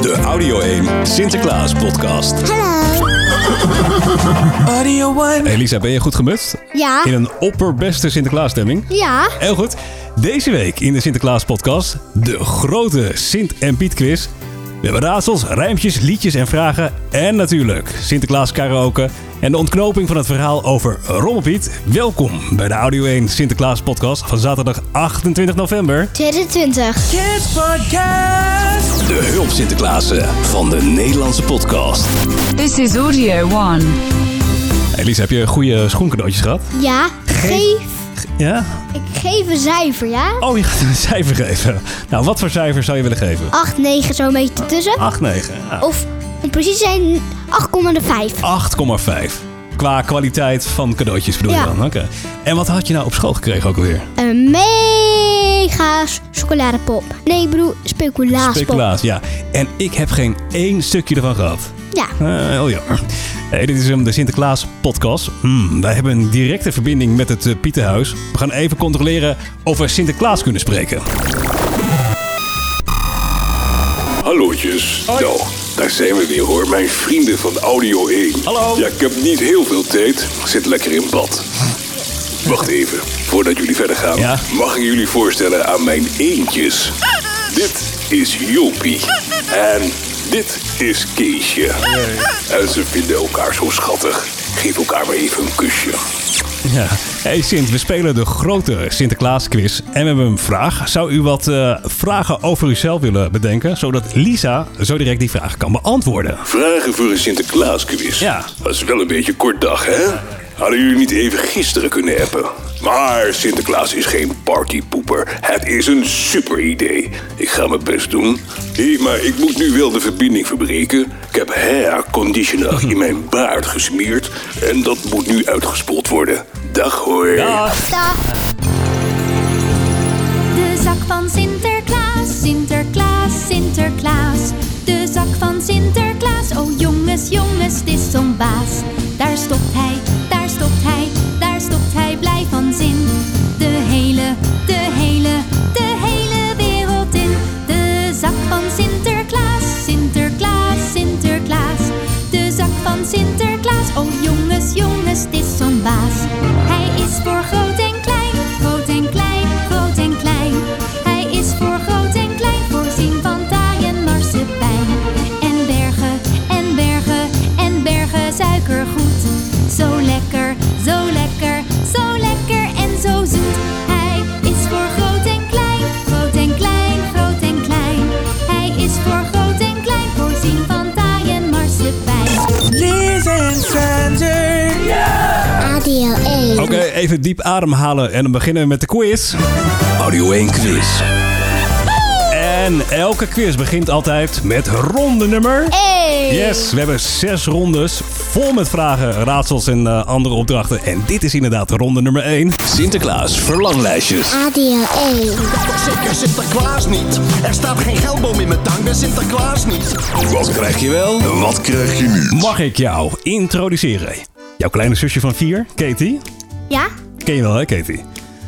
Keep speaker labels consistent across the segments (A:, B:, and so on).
A: De Audio 1 Sinterklaas podcast.
B: Audio One.
A: Elisa, ben je goed gemutst?
C: Ja,
A: In een opperbeste Sinterklaasstemming.
C: ja.
A: Heel goed. Deze week in de Sinterklaas podcast de grote Sint en Piet quiz. We hebben raadsels, rijmpjes, liedjes en vragen. En natuurlijk Sinterklaas karaoke en de ontknoping van het verhaal over Rommelpiet. Welkom bij de Audio 1 Sinterklaas podcast van zaterdag 28 november.
C: 22.
B: Kids Podcast.
A: De hulp Sinterklaassen van de Nederlandse podcast.
D: This is Audio One.
A: Elisa, heb je goede schoencadeautjes gehad?
C: Ja, geef.
A: Ja?
C: Ik geef een cijfer, ja?
A: Oh, je gaat een cijfer geven. Nou, wat voor cijfer zou je willen geven?
C: 8, 9, zo'n beetje tussen.
A: 8, 9. ja.
C: Of om precies te zijn 8,5.
A: 8,5. Qua kwaliteit van cadeautjes bedoel je
C: Ja.
A: dan? Oké. En wat had je nou op school gekregen ook alweer?
C: Een mega chocoladepop. Nee, ik bedoel speculaaspop.
A: Speculaas, ja. En ik heb geen één stukje ervan gehad.
C: Ja,
A: Eh, heel jammer. Hey, dit is hem, de Sinterklaas podcast. Hmm, wij hebben een directe verbinding met het eh, Pietenhuis. We gaan even controleren of we Sinterklaas kunnen spreken.
E: Hallootjes. Nou, daar zijn we weer hoor, mijn vrienden van Audio 1.
A: Hallo.
E: Ja, ik heb niet heel veel tijd. Zit lekker in bad. Wacht even, voordat jullie verder gaan,
A: Ja?
E: mag ik jullie voorstellen aan mijn eentjes. Dit is Jopie. En dit is Keesje. En ze vinden elkaar zo schattig. Geef elkaar maar even een kusje.
A: Ja. Hey Sint, we spelen de grote Sinterklaas quiz en we hebben een vraag. Zou u wat eh, vragen over uzelf willen bedenken, zodat Lisa zo direct die vraag kan beantwoorden?
E: Vragen voor een Sinterklaasquiz.
A: Ja.
E: Dat is wel een beetje kort dag, hè? Hadden jullie niet even gisteren kunnen appen? Maar Sinterklaas is geen partypoeper. Het is een super idee. Ik ga mijn best doen. Hé, maar ik moet nu wel de verbinding verbreken. Ik heb hair conditioner in mijn baard gesmeerd. En dat moet nu uitgespoeld worden. Dag hoor.
C: da.
F: De zak van Sinterklaas, Sinterklaas, Sinterklaas. De zak van Sinterklaas, oh jongens, jongens, dit is zo'n baas. Daar stopt hij, daar stopt hij, daar stopt hij blij van zin. De hele, de hele, de hele wereld in. De zak van Sinterklaas, Sinterklaas, Sinterklaas. De zak van Sinterklaas, oh jongens, jongens, dit is zo'n baas. Hij is voor groot en klein, groot en klein, groot en klein. Hij is voor groot en klein, voorzien van taai en marsepein. En bergen, en bergen, en bergen suikergoed. Zo lekker, zo lekker, zo lekker en zo zoet. Hij is voor groot en klein, groot en klein, groot en klein. Hij is voor groot en klein, voorzien van taai en marsepein.
B: Liz en Sander.
C: ADL 1.
A: Oké, even diep ademhalen en dan beginnen we met de quiz. Audio 1 quiz. En elke quiz begint altijd met ronde nummer...
C: Hey.
A: Yes, we hebben zes rondes vol met vragen, raadsels en eh, andere opdrachten. En dit is inderdaad ronde nummer 1. Sinterklaas verlanglijstjes.
C: ADL 1.
G: Zeker Sinterklaas niet. Er staat geen geldboom in mijn tang, ben Sinterklaas niet.
A: Wat krijg je wel?
E: Wat krijg je nu?
A: Mag ik jou introduceren? Jouw kleine zusje van vier, Katie.
C: Ja?
A: Ken je wel, hè, Katie?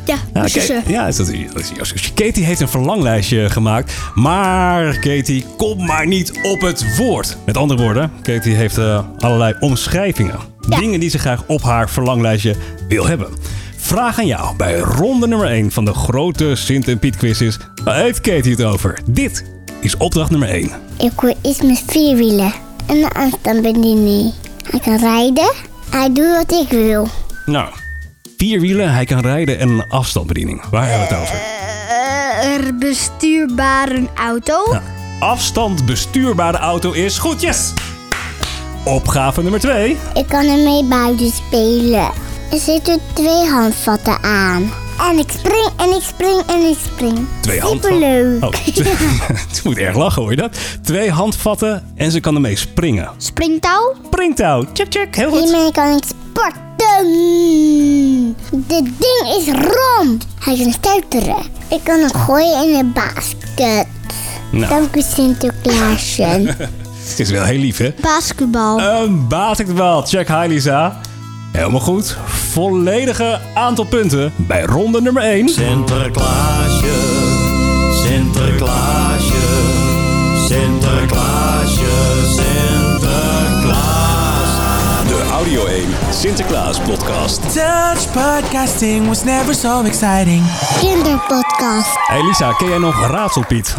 C: Ja,
A: Ah,
C: dus,
A: Ka-
C: eh,
A: Ja, is dat, dat is jouw zusje. Katie heeft een verlanglijstje gemaakt. Maar Katie, kom maar niet op het woord. Met andere woorden, Katie heeft eh, allerlei omschrijvingen. Dingen die ze graag op haar verlanglijstje wil hebben. Vraag aan jou bij ronde nummer 1 van de grote Sint en Piet quiz is... Waar heeft Katie het over? Dit is opdracht nummer 1.
C: eh.
H: Ik wil iets met vier wielen. En een
C: ah,
H: afstandsbediening. Hij kan rijden. Hij doet wat ik wil.
A: Nou, vier wielen, hij kan rijden en een afstandsbediening. Waar hebben we het over?
C: Er bestuurbare auto.
A: Ja. Afstand bestuurbare auto is goed, yes! Opgave nummer 2.
H: Ik kan ermee buiten spelen. Er zitten twee handvatten aan. En ik spring en ik spring en ik spring.
A: Twee
H: Superleuk.
A: Oh, het moet erg lachen, hoor je dat? Twee handvatten en ze kan ermee springen.
C: Springtouw.
A: Springtouw, check, check, heel goed.
H: Hiermee kan ik sporten. Dit ding is rond. Hij kan stuiteren. Ik kan hem gooien in een basket.
A: Nou.
H: Dank u Sinterklaasje.
A: Het is wel heel lief, hè?
C: Basketbal.
A: Een basketbal, check, hi Lisa. Helemaal goed. Volledige aantal punten bij ronde nummer 1.
G: Sinterklaasje, Sinterklaasje, Sinterklaasje.
I: Radio 1 Sinterklaas podcast.
B: Dutch podcasting was never so exciting.
H: Kinderpodcast.
A: Hey Lisa, ken jij nog Raadselpiet?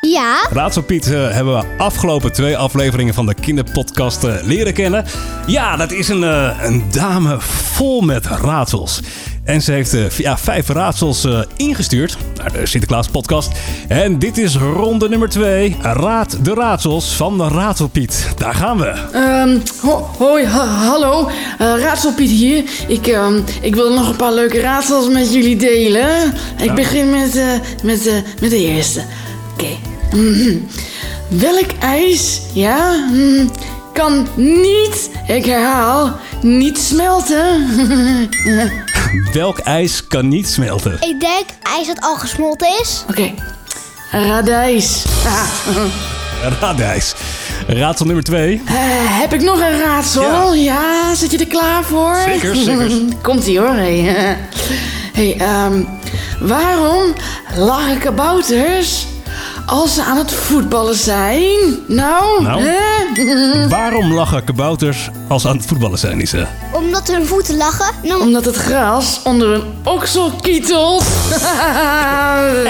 C: Ja,
A: Raadselpiet eh, hebben we afgelopen twee afleveringen van de kinderpodcast eh, leren kennen. Ja, dat is een, eh, een dame vol met raadsels. En ze heeft eh, v- ja, vijf raadsels eh, ingestuurd naar de Sinterklaas podcast. En dit is ronde nummer twee. Raad de raadsels van de Raadselpiet. Daar gaan we.
J: Ehm, ho- hoi, ha- hallo. Eh, Raadselpiet hier. Ik, ehm, ik wil nog een paar leuke raadsels met jullie delen. Ik begin met, eh, met, eh, met de eerste. Oké. Mhm. Welk ijs, ja, mhm, kan niet, ik herhaal, niet smelten? Oké,
A: Welk ijs kan niet smelten?
C: ik denk ijs dat al gesmolten is.
J: radijs. Ah,
A: Raadijs. Raadsel nummer twee.
J: eh, heb ik nog een raadsel? Ja. zit je er klaar voor?
A: Zeker, zeker.
J: Komt ie hoor. Hey, eh. hey ehm, waarom lachen kabouters als ze aan het voetballen zijn? Nou,
A: Nou?
J: hè?
A: Waarom lachen kabouters als ze aan het voetballen zijn, Lisa?
C: Omdat hun voeten lachen. Dan
J: omdat het gras onder hun oksel kietelt.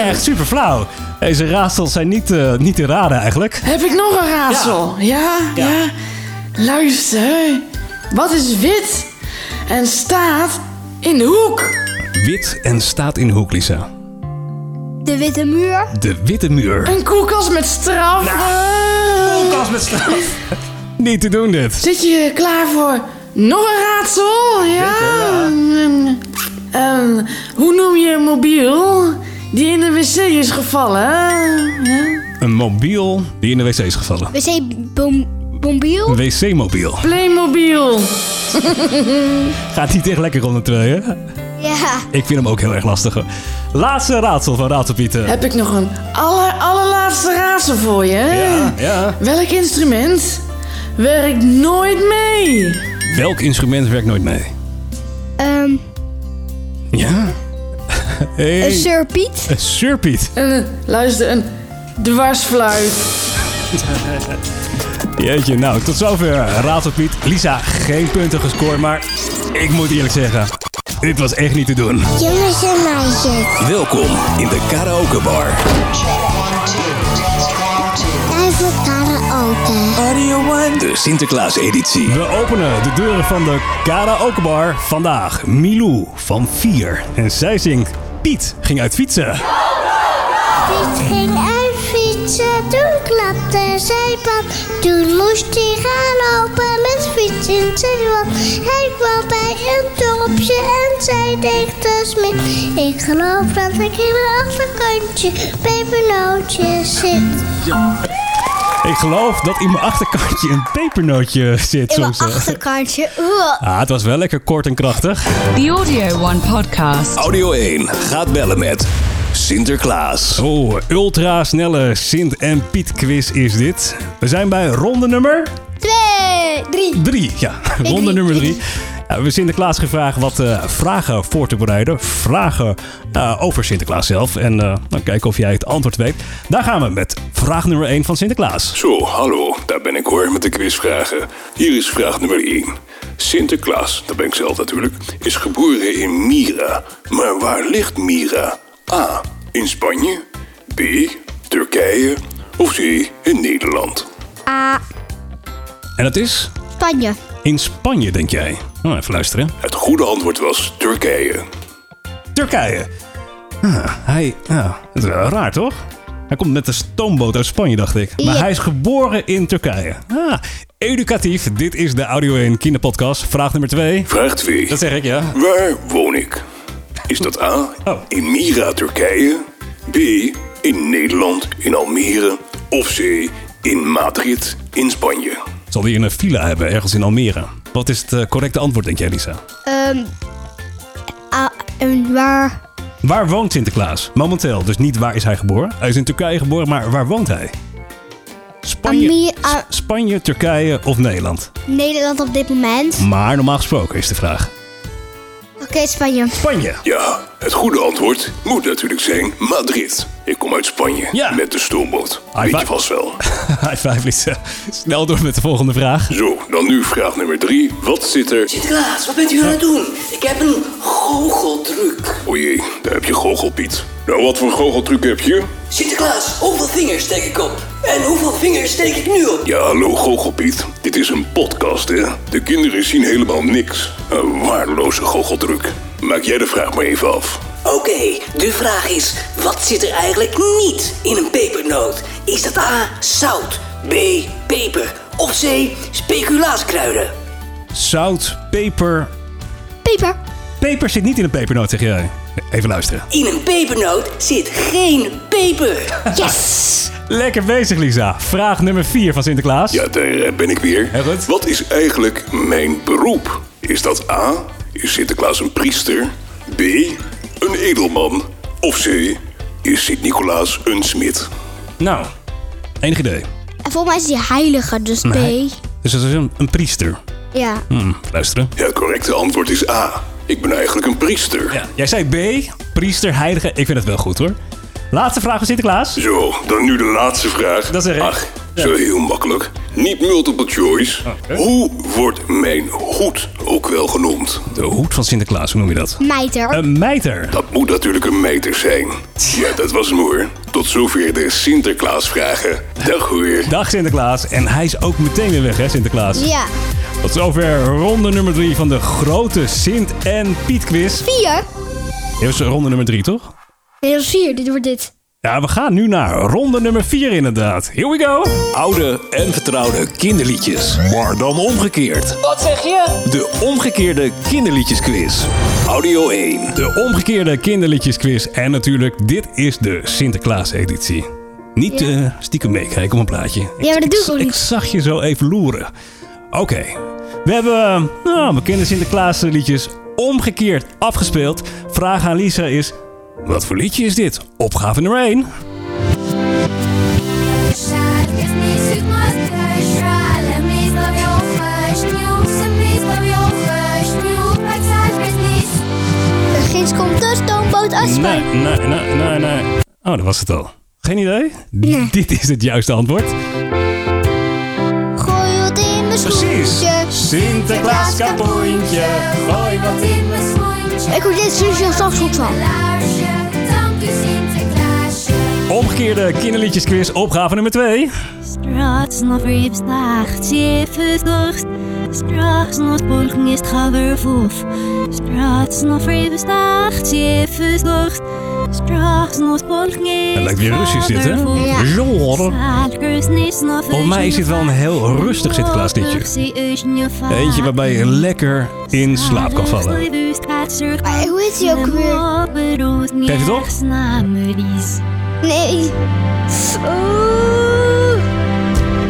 A: Echt super flauw. Deze raadsels zijn niet, eh, niet te raden eigenlijk.
J: Heb ik nog een raadsel? Ja. Ja, Luister, wat is wit en staat in de hoek?
A: Wit en staat in de hoek, Lisa.
C: de witte muur.
A: De witte muur.
J: Een koelkast met straf.
A: met straf. Niet te doen dit.
J: Zit je klaar voor nog een raadsel? Ja. Ehm, ehm, hoe noem je een mobiel die in de wc is gevallen? Ja.
A: Een mobiel die in de wc is gevallen.
C: Wc-bombiel.
A: Een wc-mobiel.
J: Playmobil.
A: Gaat niet echt lekker onder twee, hè?
C: Ja.
A: Ik vind hem ook heel erg lastig. hoor. Laatste raadsel van Raadselpieten.
J: Heb ik nog een aller, allerlaatste raadsel voor je?
A: Ja, ja.
J: Welk instrument werkt nooit mee?
A: Welk instrument werkt nooit mee?
C: Ehm
A: Ja. Hey.
C: een surpiet.
A: Een surpiet.
J: Een, eh, luister, een dwarsfluit.
A: Jeetje, nou, tot zover Raad op Piet. Lisa, geen punten gescoord, maar ik moet eerlijk zeggen, dit was echt niet te doen.
H: Jongens en meisjes.
I: Welkom in de karaoke bar.
H: Tijd voor karaoke.
B: Audio One.
I: De Sinterklaas editie.
A: We openen de deuren van de karaokebar vandaag. Milou van 4. En zij zingt Piet ging uit fietsen.
H: Piet ging uit fietsen, toen klapte zij pap. Toen moest hij gaan lopen met fiets in zijn hand. Hij kwam bij een dorpje en zij deed de smid. Ik geloof dat ik in een achterkantje bij mijn nootje zit.
A: Ik geloof dat in mijn achterkantje een pepernootje zit
C: In mijn
A: soms. hè.
C: achterkantje. Uah.
A: Ah, het was wel lekker kort en krachtig.
D: The Audio One podcast.
I: Audio 1 gaat bellen met Sinterklaas.
A: Oh, ultra snelle Sint en Piet quiz is dit. We zijn bij ronde nummer...
C: Twee, drie.
A: Drie, ja. Ronde
C: drie.
A: nummer drie. Ja, we hebben Sinterklaas gevraagd wat eh, vragen voor te bereiden. Vragen eh, over Sinterklaas zelf. En eh, dan kijken of jij het antwoord weet. Daar gaan we met vraag nummer 1 van Sinterklaas.
E: Zo, hallo, daar ben ik hoor met de quizvragen. Hier is vraag nummer 1. Sinterklaas, dat ben ik zelf natuurlijk, is geboren in Mira. Maar waar ligt Mira? A. In Spanje. B. Turkije. Of C. In Nederland.
C: Ah,
A: En dat is
C: Spanje.
A: in Spanje, denk jij. Nou, even luisteren.
E: Het goede antwoord was Turkije.
A: Turkije. Ah, hij, ja, dat is wel raar toch? Hij komt met een stoomboot uit Spanje, dacht ik. Maar
C: Ja.
A: hij is geboren in Turkije. Ah, educatief. Dit is de Audio 1 Kinderpodcast. Vraag nummer 2.
E: Vraag 2.
A: Dat zeg ik, ja.
E: Waar woon ik? Is dat A.
A: Oh.
E: In Mira, Turkije. B. In Nederland, in Almere. Of C. In Madrid, in Spanje.
A: Zal die een villa hebben ergens in Almere? Wat is het eh, correcte antwoord, denk jij, Lisa?
C: Ehm ah, en waar?
A: Waar woont Sinterklaas? Momenteel, dus niet waar is hij geboren. Hij is in Turkije geboren, maar waar woont hij? Spanje,
C: Ami-
A: S-
C: ah.
A: Spanje Turkije of Nederland?
C: Nederland op dit moment.
A: Maar normaal gesproken is de vraag.
C: Oké, Spanje.
A: Spanje.
E: Ja, het goede antwoord moet natuurlijk zijn Madrid. Ik kom kom uit Spanje met de stoomboot. Weet je vast wel.
A: High five, Lisa. Snel door met de volgende vraag.
E: Zo, dan nu vraag nummer drie. Wat zit er...
K: Sinterklaas, wat bent u aan het doen? Ik heb een goocheltruc.
E: O jee, daar heb je goochelpiet. Nou, wat voor goocheltruc heb je?
K: Sinterklaas, hoeveel vingers steek ik op? En hoeveel vingers steek ik nu op?
E: Ja, hallo goochelpiet. Dit is een podcast, hè? De kinderen zien helemaal niks. Een waardeloze goocheltruc. Maak jij de vraag maar even af.
K: Oké, de vraag is, wat zit er eigenlijk niet in een pepernoot? Is dat A, zout, B, peper of C, speculaaskruiden?
A: Zout, peper...
C: Peper.
A: Peper zit niet in een pepernoot, zeg jij. Even luisteren.
K: In een pepernoot zit geen peper.
C: Yes!
A: Lekker bezig, Lisa. Vraag nummer 4 van Sinterklaas.
E: Ja, daar eh, ben ik weer. Wat is eigenlijk mijn beroep? Is dat A. Is Sinterklaas een priester? B. Een edelman? Of C. Is Sint-Nicolaas een smid?
A: Nou, enig idee.
C: En volgens mij is die heilige, dus B.
A: Nee. Dus dat is een, een priester.
C: Ja.
A: Hmm, luisteren.
E: Het correcte antwoord is A. Ik ben eigenlijk een priester.
A: Jij zei B, priester, heilige. Ik vind het wel goed hoor. Laatste vraag van Sinterklaas.
E: Zo, dan nu de laatste vraag. Dat zeg ik. Ach, zo heel makkelijk. Niet multiple choice. Hoe wordt mijn hoed ook wel genoemd?
A: De hoed van Sinterklaas, hoe noem je dat?
C: Mijter.
A: Een mijter.
E: Dat moet natuurlijk een meter zijn. Ja, dat was hem hoor. Tot zover de Sinterklaasvragen. Dag hoor.
A: Dag Sinterklaas. En hij is ook meteen weer weg, hè Sinterklaas?
C: Ja.
A: Tot zover ronde nummer 3 van de grote Sint- en Piet-quiz.
C: Vier.
A: Dit was ronde nummer 3, toch?
C: Nee, dat is vier. Dit wordt dit.
A: Ja, we gaan nu naar ronde nummer 4 inderdaad. Here we go.
I: Oude en vertrouwde kinderliedjes. Maar dan omgekeerd.
K: Wat zeg je?
I: De omgekeerde kinderliedjesquiz. Audio 1.
A: De omgekeerde kinderliedjesquiz. En natuurlijk, dit is de Sinterklaas-editie. Niet eh, stiekem meekijken op een plaatje.
C: Ja, maar dat doe ik ook
A: Ik
C: niet.
A: zag je zo even loeren. Oké, we hebben nou, bekende Sinterklaas-liedjes omgekeerd afgespeeld. Vraag aan Lisa is, wat voor liedje is dit? Opgave nummer 1.
C: Ginds komt de stoomboot als
A: Nee, nee, nee, nee, nee. Oh, dat was het al. Geen idee? Dit is het juiste antwoord.
C: Gooi wat in mijn schoentje.
A: Sinterklaas kapoentje, gooi wat
F: in mijn schoentje.
C: Ik hoor dit Susan Saxhoek van.
F: Laarsje, dank u Sinterklaasje.
A: Omgekeerde kinderliedjesquiz, opgave nummer 2.
F: Straks nog weer slaagt, zeven dorst. Straks nog bonken is het gavervoef. Straks nog weer slaagt, zeven dorst. Straks nog bonken is
A: Het lijkt weer Russisch dit, hè?
F: Ja.
A: Genre. Volgens mij is dit wel een heel rustig Sinterklaas liedje. Eentje waarbij je lekker in slaap kan vallen.
C: Maar hoe heet die ook weer?
A: Geef het op.
C: Nee. Oeh.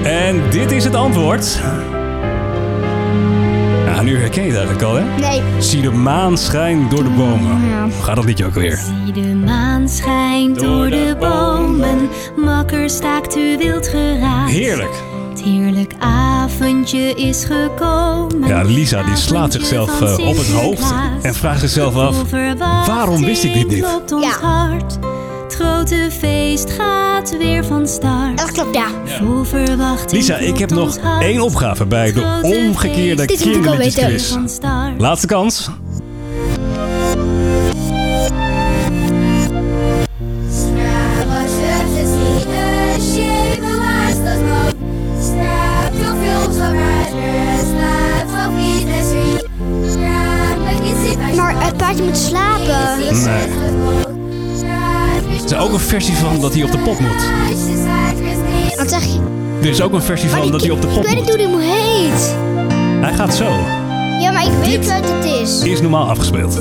A: En dit is het antwoord. Ja, nu herken je het eigenlijk al, hè?
C: Nee.
A: Zie de maan schijnt door de bomen. Hoe gaat dat liedje ook weer?
F: Zie de maan schijnt door de bomen. Makker staakt u wild geraakt.
A: Heerlijk.
F: Het heerlijk avondje is gekomen.
A: Ja, Lisa die slaat
F: Avondje
A: zichzelf
F: van
A: eh, op het hoofd
F: Sinterklaas.
A: en vraagt zichzelf af...
F: Onverwacht
A: waarom wist ik dit niet?
F: klopt ons
C: Ja.
F: hart. Het grote feest gaat weer van start.
C: Dat klopt, ja.
F: Vol verwachting
A: Lisa, ik heb
F: klopt
A: nog
F: ons hart.
A: één opgave bij de omgekeerde
C: Dit moet ik al weten.
A: kinderliedjesquiz.
F: Van start.
A: Laatste kans.
C: Maar eh, het paardje moet slapen. Dat is-
A: Nee. Er is ook een versie van dat hij op de pot moet.
C: Wat zeg je?
A: Er is ook een versie
C: Maar
A: van
C: die
A: dat hij
C: ki-
A: op de
C: Ik
A: pot
C: weet niet hoe
A: moet.
C: die moet heet.
A: Hij gaat zo.
C: Ja, maar ik weet wat het is.
A: Is normaal afgespeeld.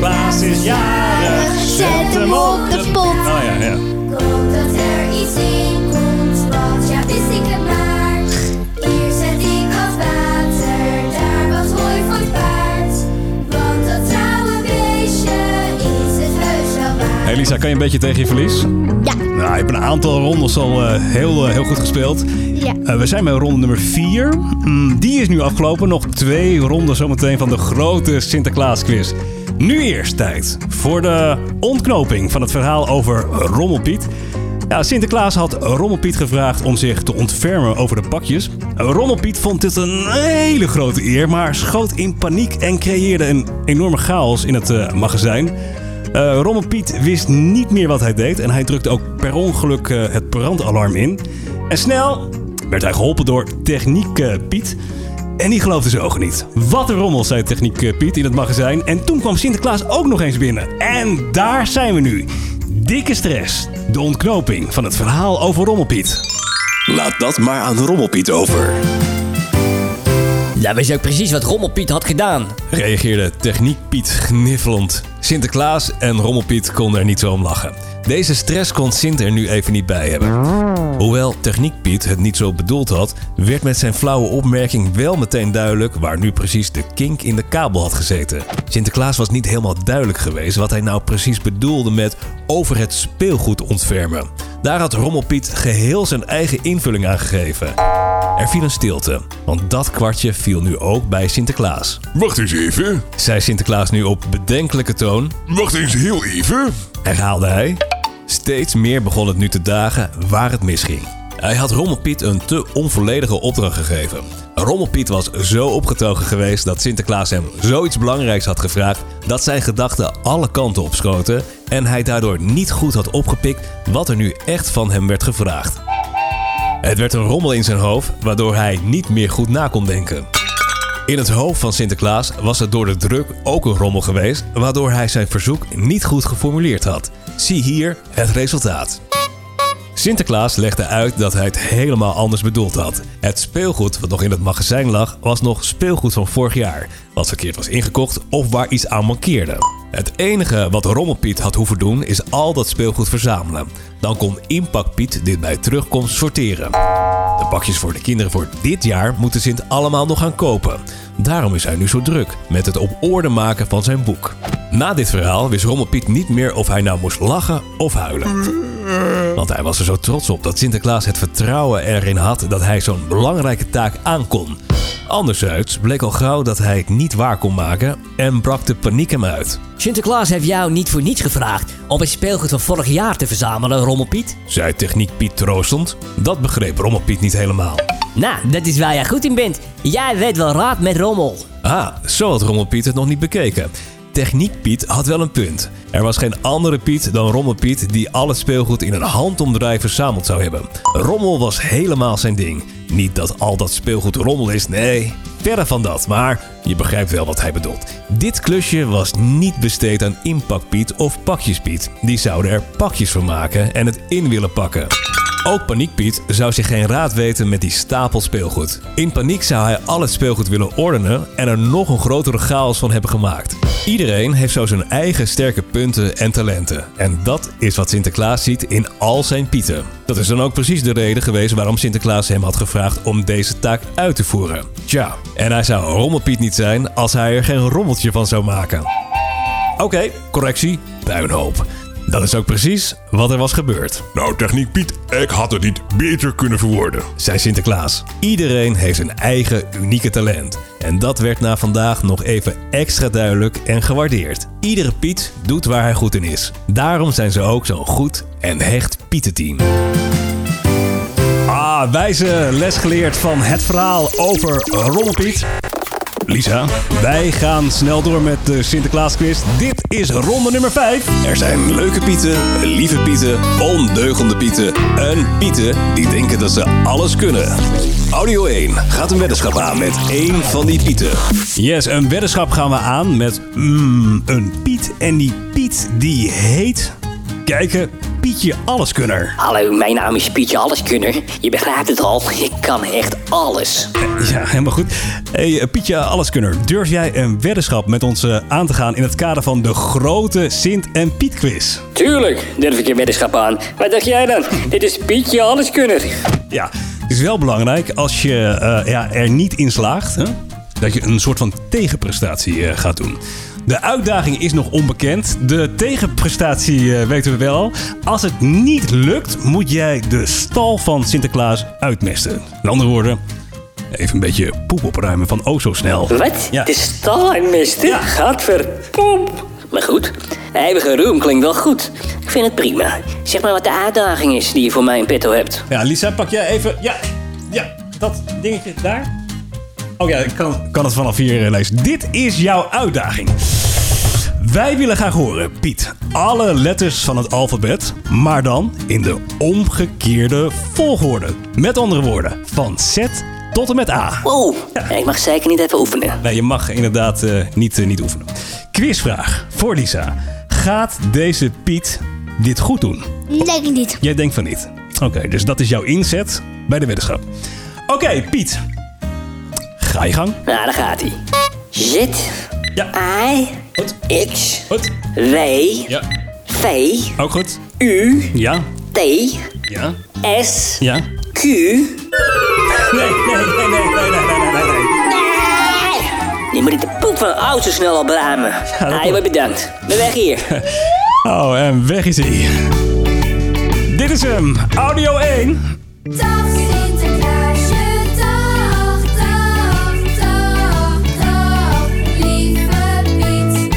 A: Klaas is jarig.
C: Zet hem op de pot.
A: Oh ja, ja.
F: Komt dat er iets in komt, want ja, wist ik het maar. Hier zet ik wat water, daar wat hooi voor het paard. Want dat trouwe beestje is het heus wel waard.
A: Hey Lisa, kan je een beetje tegen je verlies?
C: Ja.
A: Nou, je hebt een aantal rondes al eh, heel, eh, heel goed gespeeld.
C: Ja.
A: Eh, we zijn bij ronde nummer 4. die is nu afgelopen. Nog twee ronden zometeen van de grote Sinterklaas quiz. Nu eerst tijd voor de ontknoping van het verhaal over Rommelpiet. Ja, Sinterklaas had Rommelpiet gevraagd om zich te ontfermen over de pakjes. Rommelpiet vond dit een hele grote eer, maar schoot in paniek en creëerde een enorme chaos in het eh, magazijn. Eh Rommelpiet wist niet meer wat hij deed en hij drukte ook per ongeluk eh, het brandalarm in. En snel werd hij geholpen door Techniek eh, Piet. En die geloofde zijn ogen niet. Wat een rommel, zei Techniek eh, Piet in het magazijn. En toen kwam Sinterklaas ook nog eens binnen. En daar zijn we nu. Dikke stress. De ontknoping van het verhaal over Rommelpiet.
I: Laat dat maar aan Rommelpiet over.
L: Ja, weet je ook precies wat Rommelpiet had gedaan?
A: Reageerde Techniek Piet gniffelend. Sinterklaas en Rommelpiet konden er niet zo om lachen. Deze stress kon Sint er nu even niet bij hebben. Hoewel Techniek Piet het niet zo bedoeld had, werd met zijn flauwe opmerking wel meteen duidelijk waar nu precies de kink in de kabel had gezeten. Sinterklaas was niet helemaal duidelijk geweest wat hij nou precies bedoelde met over het speelgoed ontfermen. Daar had Rommelpiet geheel zijn eigen invulling aan gegeven. Er viel een stilte, want dat kwartje viel nu ook bij Sinterklaas.
E: Wacht eens even.
A: Zei Sinterklaas nu op bedenkelijke toon.
E: Wacht eens heel even.
A: Herhaalde hij. Steeds meer begon het nu te dagen waar het misging. Hij had Rommelpiet een te onvolledige opdracht gegeven. Rommelpiet was zo opgetogen geweest dat Sinterklaas hem zoiets belangrijks had gevraagd dat zijn gedachten alle kanten opschoten en hij daardoor niet goed had opgepikt wat er nu echt van hem werd gevraagd. Het werd een rommel in zijn hoofd waardoor hij niet meer goed na kon denken. In het hoofd van Sinterklaas was het door de druk ook een rommel geweest, waardoor hij zijn verzoek niet goed geformuleerd had. Zie hier het resultaat. Sinterklaas legde uit dat hij het helemaal anders bedoeld had. Het speelgoed wat nog in het magazijn lag, was nog speelgoed van vorig jaar, wat verkeerd was ingekocht of waar iets aan mankeerde. Het enige wat Rommelpiet had hoeven doen, is al dat speelgoed verzamelen. Dan kon Inpakpiet dit bij terugkomst sorteren. De pakjes voor de kinderen voor dit jaar moeten Sint allemaal nog gaan kopen. Daarom is hij nu zo druk met het op orde maken van zijn boek. Na dit verhaal wist Rommelpiet niet meer of hij nou moest lachen of huilen. Want hij was er zo trots op dat Sinterklaas het vertrouwen erin had dat hij zo'n belangrijke taak aankon. Anderzijds bleek al gauw dat hij het niet waar kon maken en brak de paniek hem uit.
L: Sinterklaas heeft jou niet voor niets gevraagd om het speelgoed van vorig jaar te verzamelen, Rommelpiet.
A: Zei techniek Piet troostend. Dat begreep Rommelpiet niet helemaal.
L: Nou, dat is waar jij goed in bent. Jij weet wel raad met rommel.
A: Ah, zo had Rommelpiet het nog niet bekeken. Techniek Piet had wel een punt. Er was geen andere Piet dan Rommelpiet die al het speelgoed in een handomdraai verzameld zou hebben. Rommel was helemaal zijn ding. Niet dat al dat speelgoed rommel is, nee. Verre van dat, maar je begrijpt wel wat hij bedoelt. Dit klusje was niet besteed aan Inpakpiet of Pakjespiet. Die zouden er pakjes van maken en het in willen pakken. Ook Paniekpiet zou zich geen raad weten met die stapel speelgoed. In paniek zou hij al het speelgoed willen ordenen en er nog een grotere chaos van hebben gemaakt. Iedereen heeft zo zijn eigen sterke punten en talenten. En dat is wat Sinterklaas ziet in al zijn pieten. Dat is dan ook precies de reden geweest waarom Sinterklaas hem had gevraagd om deze taak uit te voeren. Tja, en hij zou Rommelpiet niet zijn als hij er geen rommeltje van zou maken. Oké, correctie, puinhoop. Dat is ook precies wat er was gebeurd.
E: Nou, Techniek Piet, ik had het niet beter kunnen verwoorden.
A: Zei Sinterklaas. Iedereen heeft zijn eigen unieke talent. En dat werd na vandaag nog even extra duidelijk en gewaardeerd. Iedere Piet doet waar hij goed in is. Daarom zijn ze ook zo'n goed en hecht Pietenteam. Ah, wijze les geleerd van het verhaal over Rommelpiet. Lisa, wij gaan snel door met de Sinterklaasquiz. Dit is ronde nummer 5.
I: Er zijn leuke pieten, lieve pieten, ondeugende pieten en pieten die denken dat ze alles kunnen. Audio 1 gaat een weddenschap aan met één van die pieten.
A: Yes, een weddenschap gaan we aan met mm, een Piet. En die Piet die heet... Kijken, Pietje Alleskunner.
K: Hallo, mijn naam is Pietje Alleskunner. Je begrijpt het al, ik kan echt alles.
A: Ja, helemaal goed. Hey, eh, Pietje Alleskunner, durf jij een weddenschap met ons eh, aan te gaan... in het kader van de grote Sint- en Piet-quiz?
K: Tuurlijk, durf ik een weddenschap aan. Wat dacht jij dan? Dit is Pietje Alleskunner.
A: Ja, het is wel belangrijk als je eh, ja, er niet in slaagt... Hè, dat je een soort van tegenprestatie eh, gaat doen. De uitdaging is nog onbekend. De tegenprestatie eh, weten we wel. Als het niet lukt, moet jij de stal van Sinterklaas uitmesten. In andere woorden, even een beetje poep opruimen van oh zo snel.
K: Wat?
A: Ja.
K: De stal en mist. Ja. Gadverpomp. Maar goed, eeuwige roem klinkt wel goed.
M: Ik vind het prima. Zeg maar wat de uitdaging is die je voor mij in petto hebt.
A: Ja, Lisa, pak jij even. Ja, ja, dat dingetje daar. Oh ja, ik kan, kan het vanaf hier eh, lezen. Dit is jouw uitdaging. Wij willen graag horen, Piet, alle letters van het alfabet, maar dan in de omgekeerde volgorde. Met andere woorden, van Z tot en met A.
M: Wow, Oh, ik mag zeker niet even oefenen.
A: Nee, je mag inderdaad eh, niet, eh, niet oefenen. Quizvraag voor Lisa. Gaat deze Piet dit goed doen?
C: Denk ik niet.
A: Jij denkt van niet. Oké, dus dat is jouw inzet bij de weddenschap. Oké, Piet. Ga je gang.
M: Nou, daar gaat hij. Zit. I. X. W.
A: Ja.
M: V.
A: Ook goed.
M: U.
A: Ja.
M: T.
A: Ja.
M: S.
A: Ja.
M: Q. Nee,
A: nee, nee, nee, nee, nee, nee, nee,
M: Je moet de poep van oud zo snel al bramen. Ja, je wordt bedankt. We weg hier.
A: Oh, en weg is hij. Dit is hem. Audio 1.
N: Dag Sinterklaasje, dag, dag, dag, dag, lieve Piet.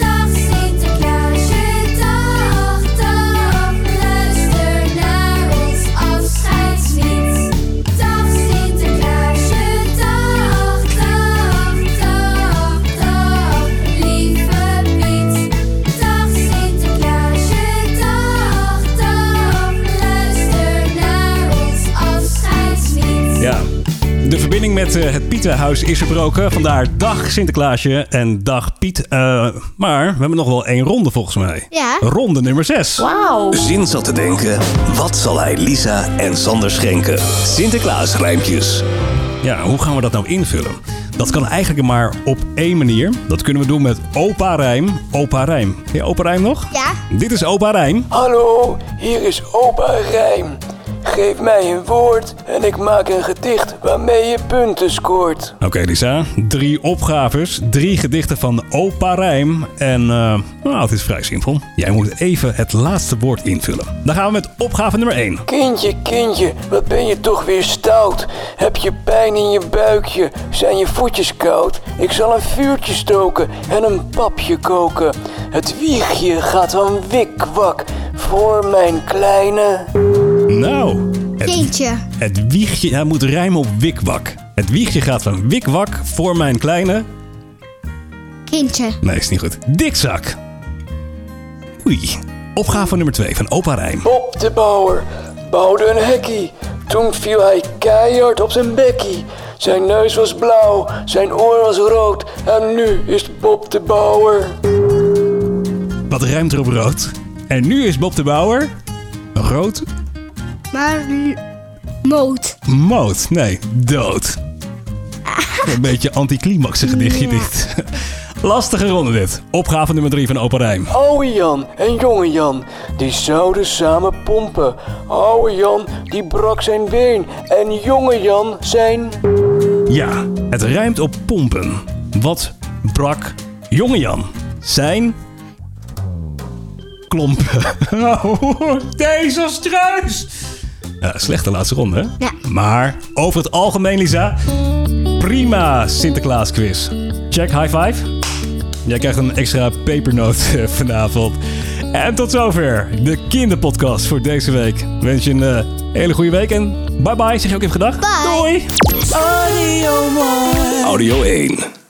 N: Dag Sinterklaasje, dag, dag, luister naar ons afscheidslied. Dag Sinterklaasje, dag, dag, dag, dag, lieve Piet. Dag Sinterklaasje, dag, dag, luister naar ons afscheidslied.
A: Ja. De verbinding met eh, het Pietenhuis is verbroken. Vandaar dag Sinterklaasje en dag Piet. Eh, maar we hebben nog wel één ronde volgens mij.
C: Ja.
A: Ronde nummer 6.
C: Wauw.
E: Zin zat te denken, wat zal hij Lisa en Sander schenken? Sinterklaas rijmpjes.
A: Ja, hoe gaan we dat nou invullen? Dat kan eigenlijk maar op één manier. Dat kunnen we doen met opa Rijm. Opa Rijm. Ken je opa Rijm nog?
C: Ja.
A: Dit is opa Rijm.
O: Hallo, hier is opa Rijm. Geef mij een woord en ik maak een gedicht waarmee je punten scoort.
A: Oké Lisa, drie opgaves, drie gedichten van opa Rijm. En eh, nou, het is vrij simpel. Jij moet even het laatste woord invullen. Dan gaan we met opgave nummer 1.
O: Kindje, kindje, wat ben je toch weer stout? Heb je pijn in je buikje? Zijn je voetjes koud? Ik zal een vuurtje stoken en een papje koken. Het wiegje gaat van wikwak voor mijn kleine.
A: Nou, het,
C: Jeetje.
A: het wiegje hij moet rijmen op wikwak. Het wiegje gaat van wikwak voor mijn kleine...
C: Kindje.
A: Nee, is niet goed. Dikzak. Oei. Opgave nummer 2 van opa Rijm.
O: Bob de Bouwer bouwde een hekkie. Toen viel hij keihard op zijn bekkie. Zijn neus was blauw, zijn oor was rood. En nu is Bob de Bouwer.
A: Wat ruimt er op rood? En nu is Bob de Bouwer... Rood?
C: Maar moot.
A: Moot. Nee, dood. Een beetje anticlimax gedichtje dit. Lastige ronde dit. Opgave nummer 3 van opa Rijm.
O: Oude Jan en jonge Jan, die zouden samen pompen. Oude Jan, die brak zijn been. En jonge Jan zijn...
A: Ja, het rijmt op pompen. Wat brak jonge Jan? Zijn... Klompen. Oh, Deze struis! Ja, slechte laatste ronde, hè? Maar over het algemeen, Lisa, prima Sinterklaas quiz. Check, high five. Jij krijgt een extra pepernoot eh, vanavond. En tot zover de kinderpodcast voor deze week. Wens je een eh, hele goede week en bye bye. Zeg je ook even gedag? Doei!
E: Audio 1.